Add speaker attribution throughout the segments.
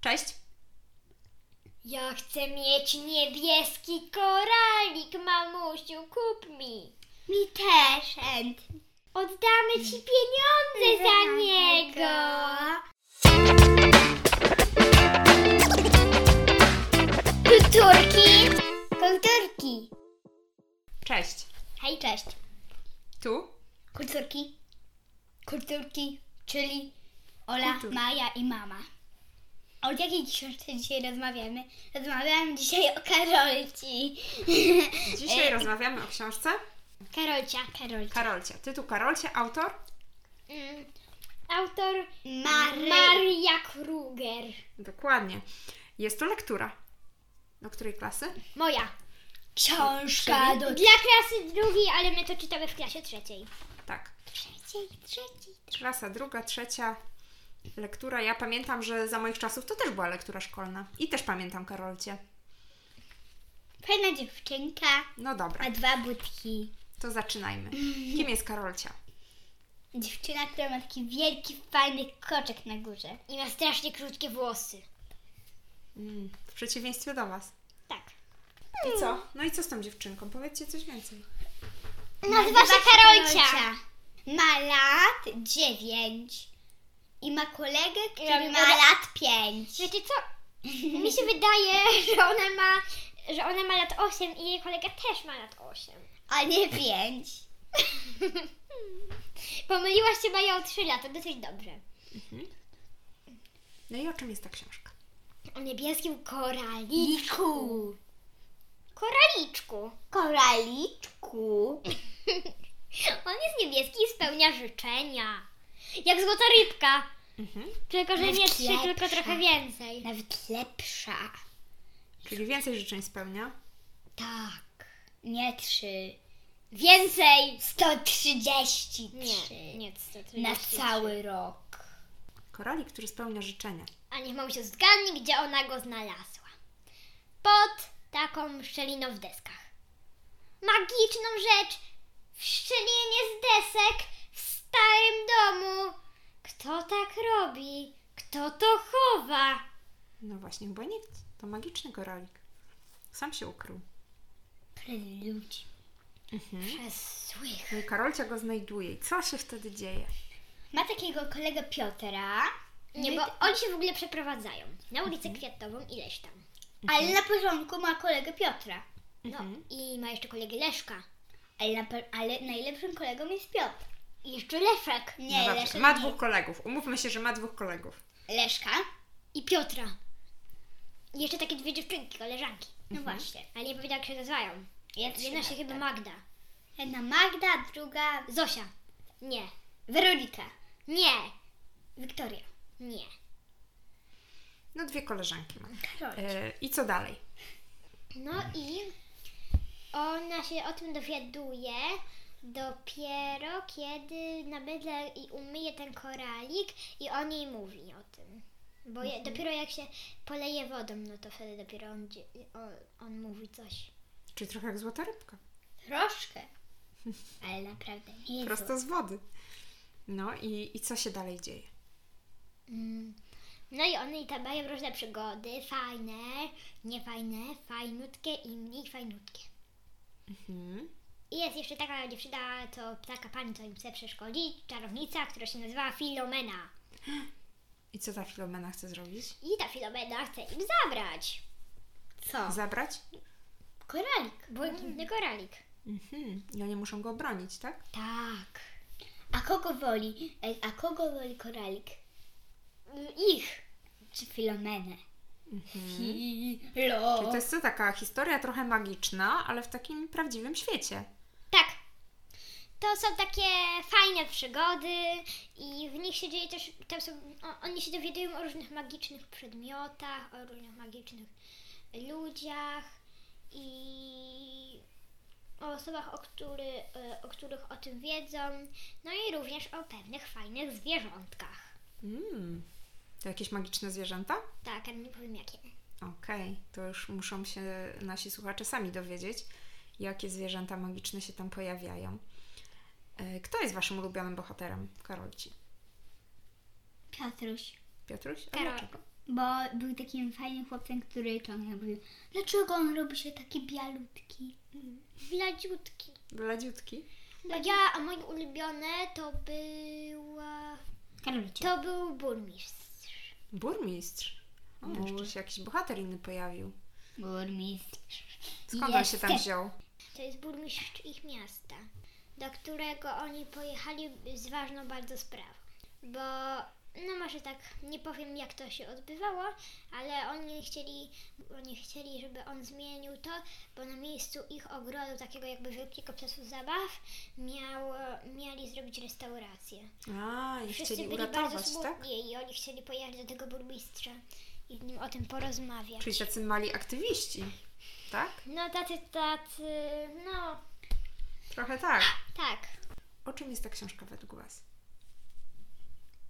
Speaker 1: Cześć!
Speaker 2: Ja chcę mieć niebieski koralik, mamusiu, kup mi.
Speaker 3: Mi też chętnie.
Speaker 2: Oddamy ci pieniądze za niego. Kulturki.
Speaker 3: Kulturki.
Speaker 1: Cześć!
Speaker 3: Hej, cześć.
Speaker 1: Tu?
Speaker 3: Kulturki. Kulturki, czyli Ola,
Speaker 1: Kultur.
Speaker 3: Maja i mama. O jakiej książce dzisiaj rozmawiamy? Rozmawiamy dzisiaj o Karolci. E,
Speaker 1: Dzisiaj rozmawiamy o książce
Speaker 3: Karolcia, Karolcia.
Speaker 1: Karolcie. Tytuł Karolcie, autor?
Speaker 2: Mm, Autor
Speaker 3: Mary.
Speaker 2: Maria Kruger.
Speaker 1: Dokładnie. Jest to lektura. Do której klasy?
Speaker 2: Moja.
Speaker 3: Książka do...
Speaker 2: Dla klasy drugiej, ale my to czytamy w klasie trzeciej.
Speaker 1: Tak.
Speaker 2: Trzeciej, trzeciej.
Speaker 1: Klasa druga, trzecia. Lektura. Ja pamiętam, że za moich czasów to też była lektura szkolna. I też pamiętam Karolcie.
Speaker 3: Fajna dziewczynka
Speaker 1: No dobra,
Speaker 3: ma dwa budki.
Speaker 1: to zaczynajmy. Kim jest Karolcia?
Speaker 3: Dziewczyna, która ma taki wielki, fajny koczek na górze.
Speaker 2: I ma strasznie krótkie włosy.
Speaker 1: Mm, w przeciwieństwie do Was.
Speaker 2: Tak.
Speaker 1: I co? No i co z tą dziewczynką? Powiedzcie coś więcej.
Speaker 2: Nazywa się Karolcia.
Speaker 3: Ma lat dziewięć i ma kolegę, który
Speaker 2: Ja-
Speaker 3: ma lat pięć.
Speaker 2: Wiecie co? Mi się wydaje, że ona ma, że ona ma lat 8 i jej kolega też ma lat 8.
Speaker 3: A nie pięć.
Speaker 2: Pomyliłaś się Maja o 3 lata, dosyć dobrze.
Speaker 1: No i o czym jest ta książka?
Speaker 2: O niebieskim korali...
Speaker 3: Liku.
Speaker 2: koraliczku.
Speaker 3: Koraliczku.
Speaker 2: On jest niebieski i spełnia życzenia. Jak złota rybka.
Speaker 1: Mhm.
Speaker 2: Tylko, że nie
Speaker 3: Nawet
Speaker 2: trzy, tylko
Speaker 3: lepsza.
Speaker 2: trochę więcej.
Speaker 3: Nawet lepsza.
Speaker 1: Czyli więcej życzeń spełnia.
Speaker 3: Tak. Nie trzy.
Speaker 2: Więcej!
Speaker 3: 133.
Speaker 2: Nie, nie, to, to
Speaker 3: Na
Speaker 2: jest-
Speaker 3: cały rok.
Speaker 1: Koralik, który spełnia życzenia.
Speaker 2: A niech mamusia zgadnie, gdzie ona go znalazła. Pod taką szczeliną w deskach. Magiczną rzecz w szczelinie z desek w starym domu. Kto tak robi? Kto to chowa?
Speaker 1: No właśnie, chyba nikt. To magiczny koralik. Sam się ukrył.
Speaker 3: Przed ludźmi.
Speaker 2: Przez złych.
Speaker 1: No i Karolcia go znajduje. I co się wtedy dzieje?
Speaker 3: Ma takiego kolegę Piotra.
Speaker 2: Nie, bo oni się w ogóle przeprowadzają na ulicę Mhm.
Speaker 3: Mhm.
Speaker 2: Kwiatową i leś tam.
Speaker 3: Ale na początku ma kolegę Piotra.
Speaker 2: No i ma jeszcze kolegę Leszka.
Speaker 3: Ale, na, pe- ale najlepszym kolegą jest Piotr.
Speaker 2: I jeszcze Leszek.
Speaker 3: Nie,
Speaker 1: no dobrze.
Speaker 3: Leszek
Speaker 1: Ma
Speaker 3: nie.
Speaker 1: dwóch kolegów. Umówmy się, że ma dwóch kolegów.
Speaker 3: Leszka.
Speaker 2: I Piotra. I jeszcze takie dwie dziewczynki, koleżanki.
Speaker 3: No właśnie.
Speaker 2: Ale nie powiedziałam, jak się nazywają. Jedna się chyba Magda.
Speaker 3: Jedna Magda, druga
Speaker 2: Zosia. Nie.
Speaker 3: Weronika.
Speaker 2: Nie.
Speaker 3: Wiktoria.
Speaker 2: Nie.
Speaker 1: No dwie koleżanki ma.
Speaker 3: Karol.
Speaker 1: E, I co dalej?
Speaker 2: No i ona się o tym dowiaduje dopiero kiedy nabydle i umyje ten koralik i o niej mówi o tym. Bo je, dopiero jak się poleje wodą, no to wtedy dopiero on, dzie- on, on mówi coś.
Speaker 1: Czyli trochę jak złota rybka.
Speaker 3: Troszkę. Ale naprawdę nie jest.
Speaker 1: Prosto z wody. No i, i co się dalej dzieje?
Speaker 2: Mm. No i one i tam mają różne przygody, fajne, niefajne, fajnutkie i mniej fajnutkie.
Speaker 1: Mhm.
Speaker 2: I jest jeszcze taka dziewczyna, to taka pani, co im chce przeszkodzić, czarownica, która się nazywała Filomena.
Speaker 1: I co ta Filomena chce zrobić?
Speaker 2: I ta Filomena chce im zabrać,
Speaker 3: Co?
Speaker 1: Zabrać?
Speaker 3: Koralik. Mm.
Speaker 2: bo inny koralik.
Speaker 1: Mhm. I oni muszą go obronić, tak?
Speaker 2: Tak.
Speaker 3: A kogo woli? Ej, A kogo woli koralik?
Speaker 2: Mm, Ich.
Speaker 3: Czy Filomenę?
Speaker 1: Mhm. Czyli
Speaker 3: Filo.
Speaker 1: to jest co taka historia trochę magiczna, ale w takim prawdziwym świecie.
Speaker 2: Tak. To są takie fajne przygody i w nich się dzieje też, tam są, o, oni się dowiadują o różnych magicznych przedmiotach, o różnych magicznych ludziach i o osobach, o, który, e, o których o tym wiedzą, no i również o pewnych fajnych zwierzątkach.
Speaker 1: Mm. To jakieś magiczne zwierzęta?
Speaker 2: Tak, ale nie powiem jakie.
Speaker 1: Okej, to już muszą się nasi słuchacze sami dowiedzieć, jakie zwierzęta magiczne się tam pojawiają. E, Kto jest waszym ulubionym bohaterem w Karolci?
Speaker 3: Piotruś.
Speaker 1: Piotruś? A
Speaker 2: Karol.
Speaker 1: dlaczego?
Speaker 3: Bo był takim fajnym chłopcem, który ciągle mówił, dlaczego on robi się taki bialutki?
Speaker 2: Bladziutki.
Speaker 1: Bladziutki.
Speaker 2: A ja, a moje ulubione to była...
Speaker 3: Karolicie.
Speaker 2: To był burmistrz.
Speaker 1: Burmistrz. O, może się jakiś bohater inny pojawił.
Speaker 3: Burmistrz.
Speaker 1: Skąd on się tam
Speaker 3: Jestem.
Speaker 1: wziął?
Speaker 2: To jest burmistrz ich miasta, do którego oni pojechali z ważną bardzo sprawą. Bo, no może tak, nie powiem jak to się odbywało, ale oni chcieli, oni chcieli, żeby on zmienił to, bo na miejscu ich ogrodu, takiego jakby wielkiego placu zabaw, miał, mieli zrobić restaurację.
Speaker 1: A, i
Speaker 2: Wszyscy
Speaker 1: chcieli
Speaker 2: byli bardzo
Speaker 1: uratować,
Speaker 2: smutni
Speaker 1: tak?
Speaker 2: i oni chcieli pojechać do tego burmistrza i z nim o tym porozmawiać.
Speaker 1: Czyli tacy mali aktywiści, tak?
Speaker 2: No tacy, tacy, no
Speaker 1: Trochę tak.
Speaker 2: tak.
Speaker 1: O czym jest ta książka według Was?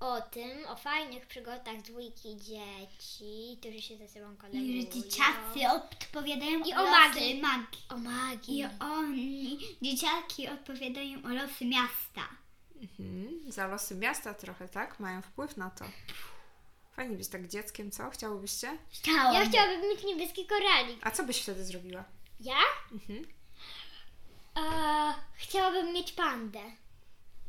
Speaker 2: O tym, o fajnych przygodach dwójki dzieci, którzy się ze sobą
Speaker 3: I
Speaker 2: kolegują.
Speaker 3: że dzieciacy odpowiadają
Speaker 2: I
Speaker 3: o
Speaker 2: o
Speaker 3: losy
Speaker 2: magii.
Speaker 3: magii.
Speaker 2: O
Speaker 3: I
Speaker 2: magii.
Speaker 3: oni, dzieciaki odpowiadają o losy miasta.
Speaker 1: Mhm. Za losy miasta trochę, tak? Mają wpływ na to. Fajnie być tak dzieckiem, co? Chciałobyście?
Speaker 3: Chciałam.
Speaker 2: Ja chciałabym mieć niebieski koralik.
Speaker 1: A co byś wtedy zrobiła?
Speaker 2: Ja?
Speaker 1: Mhm.
Speaker 2: E, chciałabym mieć pandę.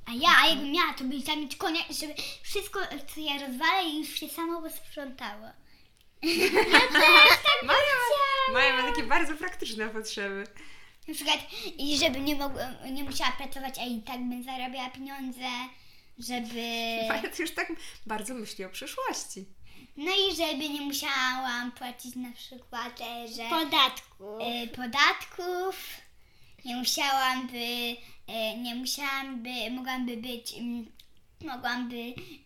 Speaker 3: A ja, jakbym miała, to bym chciała mieć konia, żeby wszystko, co ja rozwalę, już się samo posprzątało.
Speaker 1: Maja, Maja ma takie bardzo praktyczne potrzeby.
Speaker 3: Na przykład, i żeby nie, mogła, nie musiała pracować, a i tak bym zarabiała pieniądze, żeby...
Speaker 1: Maja to już tak bardzo myśli o przyszłości.
Speaker 3: No i żeby nie musiałam płacić na przykład, e, że...
Speaker 2: Podatku.
Speaker 3: e, podatków. Nie musiałam by, e, nie musiałam by, mogłam by być, mm, mogłam by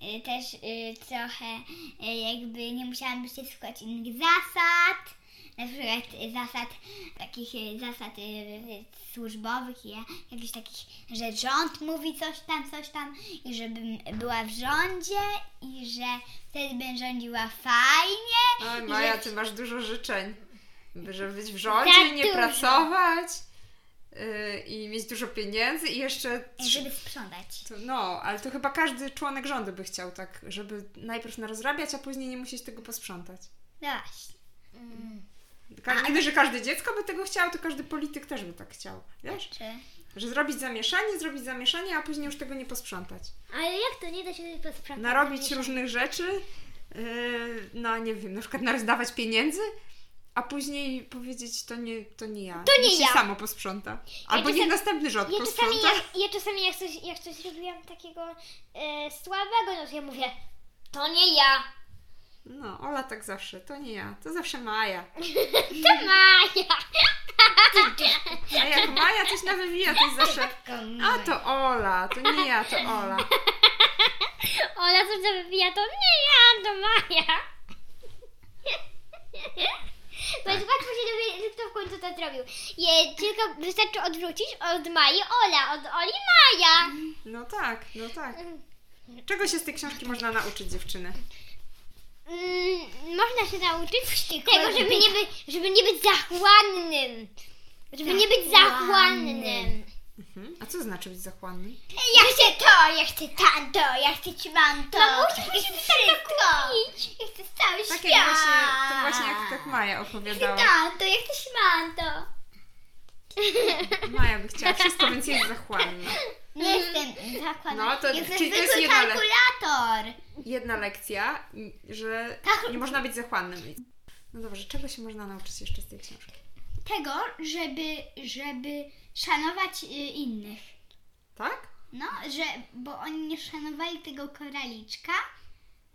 Speaker 3: e, też e, trochę e, jakby nie musiałam by się słuchać innych zasad, na przykład e, zasad takich e, zasad e, e, służbowych i jakichś takich, że rząd mówi coś tam, coś tam i żebym była w rządzie i że wtedy bym rządziła fajnie.
Speaker 1: Oj,
Speaker 3: i
Speaker 1: Maja,
Speaker 3: że-
Speaker 1: ty masz dużo życzeń. Żeby być w rządzie,
Speaker 3: Tak,
Speaker 2: Za
Speaker 1: nie
Speaker 2: dużo.
Speaker 1: pracować yy, i mieć dużo pieniędzy i jeszcze...
Speaker 3: e, żeby sprzątać.
Speaker 1: To, no, ale to chyba każdy członek rządu by chciał tak, żeby najpierw narozrabiać, a później nie musieć tego posprzątać.
Speaker 3: No właśnie.
Speaker 2: Mm.
Speaker 1: Ka- nie dość, że każde dziecko by tego chciało, to każdy polityk też by tak chciał, wiesz?
Speaker 3: Czy...
Speaker 1: Że zrobić zamieszanie, zrobić zamieszanie, a później już tego nie posprzątać.
Speaker 2: Ale jak to nie da się posprzątać?
Speaker 1: Narobić różnych rzeczy, yy, no nie wiem, na przykład narozdawać pieniędzy, a później powiedzieć, to nie, to nie ja. To
Speaker 2: nie
Speaker 1: się
Speaker 2: ja.
Speaker 1: samo posprząta. Albo niech
Speaker 2: czasem-
Speaker 1: następny rząd
Speaker 2: Ja czasami,
Speaker 1: posprząta.
Speaker 2: jak, ja czasami jak coś, jak coś robiłam takiego e, słabego, no to ja mówię, to nie ja,
Speaker 1: No, Ola tak zawsze, to nie ja, to zawsze Maja. Mhm.
Speaker 2: to Maja.
Speaker 1: A jak Maja coś nawywija, to jest zawsze, a to Ola, to nie ja, to Ola.
Speaker 2: Ola coś zawija, to nie ja, to Maja. Bo jest łatwo się dowiedzieć, kto w końcu to zrobił. Je, tylko wystarczy odwrócić od Mai Ola, od Oli Maja.
Speaker 1: No tak, no tak. Czego się z tej książki można nauczyć, dziewczyny?
Speaker 2: Mm, można się nauczyć tego, żeby nie, by, żeby nie być zachłannym. Żeby nie być zachłannym.
Speaker 1: Mhm. A co znaczy być zachłannym?
Speaker 3: Ja chcę to, ja chcę tamto, ja chcę ci mam to.
Speaker 1: No
Speaker 2: Mamusiu,
Speaker 3: ja chcę wszystko. Ja chcę cały
Speaker 1: Tak
Speaker 3: świat.
Speaker 1: jak właśnie, to właśnie jak tak Maja opowiadała.
Speaker 3: Tamto, ja chcę śmanto.
Speaker 1: Maja by chciała wszystko, więc jest zachłanna.
Speaker 3: Nie jestem zakładna.
Speaker 1: No, to-
Speaker 3: jestem
Speaker 1: czyli to jest
Speaker 3: zwykły
Speaker 1: jedna le-
Speaker 3: kalkulator.
Speaker 1: Jedna lekcja, m, że
Speaker 3: Tak.
Speaker 1: nie można być zachłannym. No dobrze, czego się można nauczyć jeszcze z tej książki?
Speaker 3: Tego, żeby, żeby szanować y, innych.
Speaker 1: Tak?
Speaker 3: No, że, bo oni nie szanowali tego koraliczka,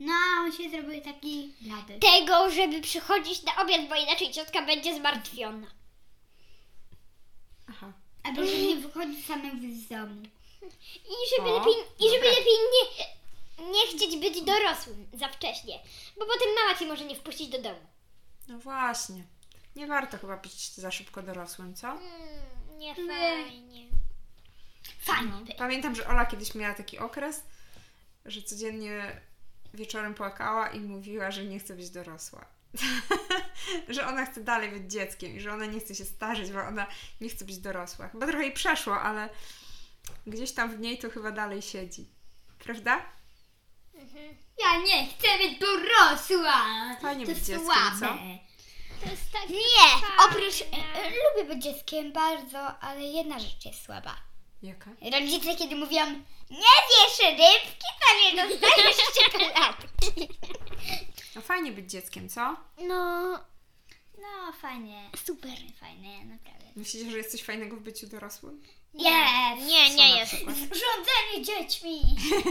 Speaker 3: no a on się zrobił taki blady.
Speaker 2: Tego, żeby przychodzić na obiad, bo inaczej ciotka będzie zmartwiona.
Speaker 1: Aha.
Speaker 3: Albo że nie wychodzi samemu z domu.
Speaker 2: I żeby
Speaker 3: No,
Speaker 1: O,
Speaker 2: lepiej, i żeby
Speaker 3: tak.
Speaker 1: dobra.
Speaker 2: lepiej nie, nie chcieć być dorosłym za wcześnie, bo potem mama cię może nie wpuścić do domu.
Speaker 1: No właśnie. Nie warto chyba być za szybko dorosłym, co?
Speaker 2: Mm, nie
Speaker 3: fajnie. Fajnie.
Speaker 1: Pamiętam, że Ola kiedyś miała taki okres, że codziennie wieczorem płakała i mówiła, że nie chce być dorosła. że ona chce dalej być dzieckiem i że ona nie chce się starzeć, bo ona nie chce być dorosła. Chyba trochę jej przeszło, ale gdzieś tam w niej to chyba dalej siedzi. Prawda?
Speaker 3: Ja nie chcę być dorosła.
Speaker 1: Fajnie
Speaker 3: to
Speaker 1: być dzieckiem,
Speaker 3: słabe.
Speaker 1: co?
Speaker 2: To jest tak
Speaker 3: Nie,
Speaker 2: fajne.
Speaker 3: oprócz... e, e, Lubię być dzieckiem bardzo, ale jedna rzecz jest słaba.
Speaker 1: Jaka?
Speaker 3: Rodzice, kiedy mówią, nie wiesz rybki, to nie dostaniesz czekoladki.
Speaker 1: No fajnie być dzieckiem, co?
Speaker 2: No,
Speaker 3: No, fajnie.
Speaker 2: super.
Speaker 3: Fajnie, naprawdę.
Speaker 1: Myślicie, że jest coś fajnego w byciu dorosłym?
Speaker 2: Nie,
Speaker 3: Jest.
Speaker 2: nie, nie
Speaker 1: na
Speaker 2: jest.
Speaker 1: przykład?
Speaker 3: Rządzenie dziećmi.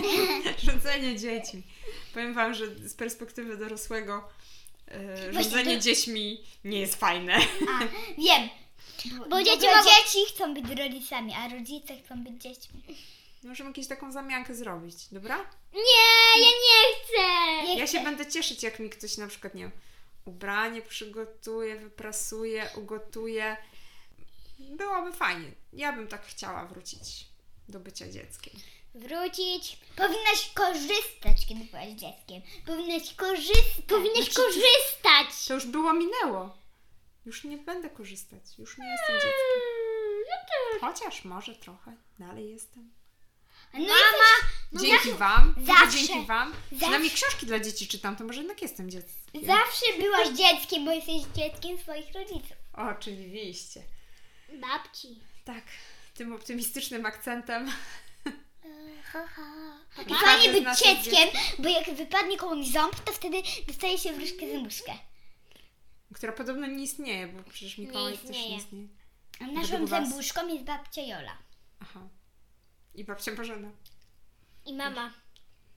Speaker 1: Rządzenie dziećmi. Powiem Wam, że z perspektywy dorosłego e, rządzenie
Speaker 3: to-
Speaker 1: dziećmi nie jest fajne.
Speaker 3: A, wiem.
Speaker 2: Bo dzieci
Speaker 3: bo
Speaker 2: mogą-
Speaker 3: dzieci chcą być rodzicami, a rodzice chcą być dziećmi.
Speaker 1: Możemy jakąś taką zamiankę zrobić, dobra?
Speaker 2: Nie, ja nie chcę.
Speaker 3: Nie
Speaker 1: Ja
Speaker 3: chcę.
Speaker 1: się będę cieszyć, jak mi ktoś na przykład, nie wiem, ubranie przygotuje, wyprasuje, ugotuje. Byłoby fajnie. Ja bym tak chciała wrócić do bycia dzieckiem.
Speaker 2: Wrócić.
Speaker 3: Powinnaś korzystać, kiedy byłaś dzieckiem. Powinnaś korzystać. No
Speaker 2: Powinnaś korzystać.
Speaker 1: To już było, minęło. Już nie będę korzystać. Już nie jestem dzieckiem. Chociaż może trochę. Dalej jestem.
Speaker 3: No Mama,
Speaker 1: Dzięki Wam. tylko
Speaker 3: zawsze.
Speaker 1: Dzięki Wam. Przynajmniej
Speaker 3: Zawsze.
Speaker 1: książki dla dzieci czytam, to może jednak jestem dzieckiem.
Speaker 3: zawsze byłaś dzieckiem, bo jesteś dzieckiem swoich rodziców.
Speaker 1: Oczywiście.
Speaker 2: Babci.
Speaker 1: Tak, tym optymistycznym akcentem.
Speaker 3: I
Speaker 1: Każdy
Speaker 3: fajnie
Speaker 1: z
Speaker 3: być
Speaker 1: nas jest
Speaker 3: dzieckiem, bo jak wypadnie komuś ząb, to wtedy dostaje się wróżkę zębuszkę.
Speaker 1: która podobno nie istnieje, bo przecież Mikołaj
Speaker 2: Nie
Speaker 1: też nie
Speaker 2: istnieje.
Speaker 1: istnieje.
Speaker 3: A
Speaker 1: Według
Speaker 3: naszą
Speaker 1: was?
Speaker 3: zębuszką jest babcia Jola.
Speaker 1: Aha. I babcia Bożena.
Speaker 2: I mama.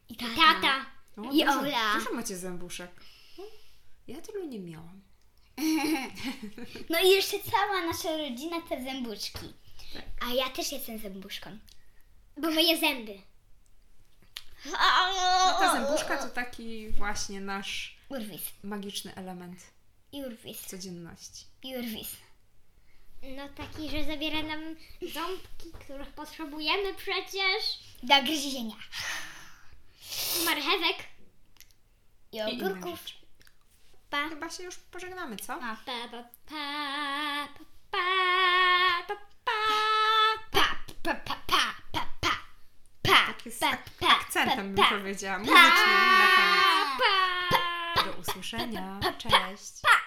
Speaker 3: I
Speaker 2: I tata.
Speaker 1: No,
Speaker 3: I
Speaker 1: dużo-
Speaker 3: Ola.
Speaker 1: Dużo macie zębuszek. No, Ja tylu nie miałam.
Speaker 3: No i jeszcze cała nasza rodzina to zębuszki.
Speaker 1: Tak.
Speaker 3: A ja też jestem zębuszką.
Speaker 2: Bo moje zęby.
Speaker 1: No ta zębuszka to taki właśnie nasz
Speaker 3: Urwis.
Speaker 1: magiczny element
Speaker 3: I urwis.
Speaker 1: codzienności.
Speaker 3: I urwis.
Speaker 2: No taki, że zabiera nam ząbki, których potrzebujemy przecież.
Speaker 3: Do gryzienia.
Speaker 2: Marchewek.
Speaker 3: I
Speaker 1: I inne
Speaker 3: ogórków.
Speaker 1: rzeczy.
Speaker 2: Pa,
Speaker 1: Chyba się już pożegnamy, co?
Speaker 3: A.
Speaker 2: pa, pa, pa, pa, pa, pa, pa.
Speaker 3: Pa, pa, pa, pa, pa, pa. Pa,
Speaker 1: Tak jest
Speaker 3: pa,
Speaker 1: ak-
Speaker 3: pa,
Speaker 1: Akcentem
Speaker 3: pa,
Speaker 1: bym
Speaker 3: pa.
Speaker 1: powiedziała. Muzycznym na koniec.
Speaker 2: Pa, pa.
Speaker 1: Do usłyszenia. Cześć.
Speaker 3: Pa.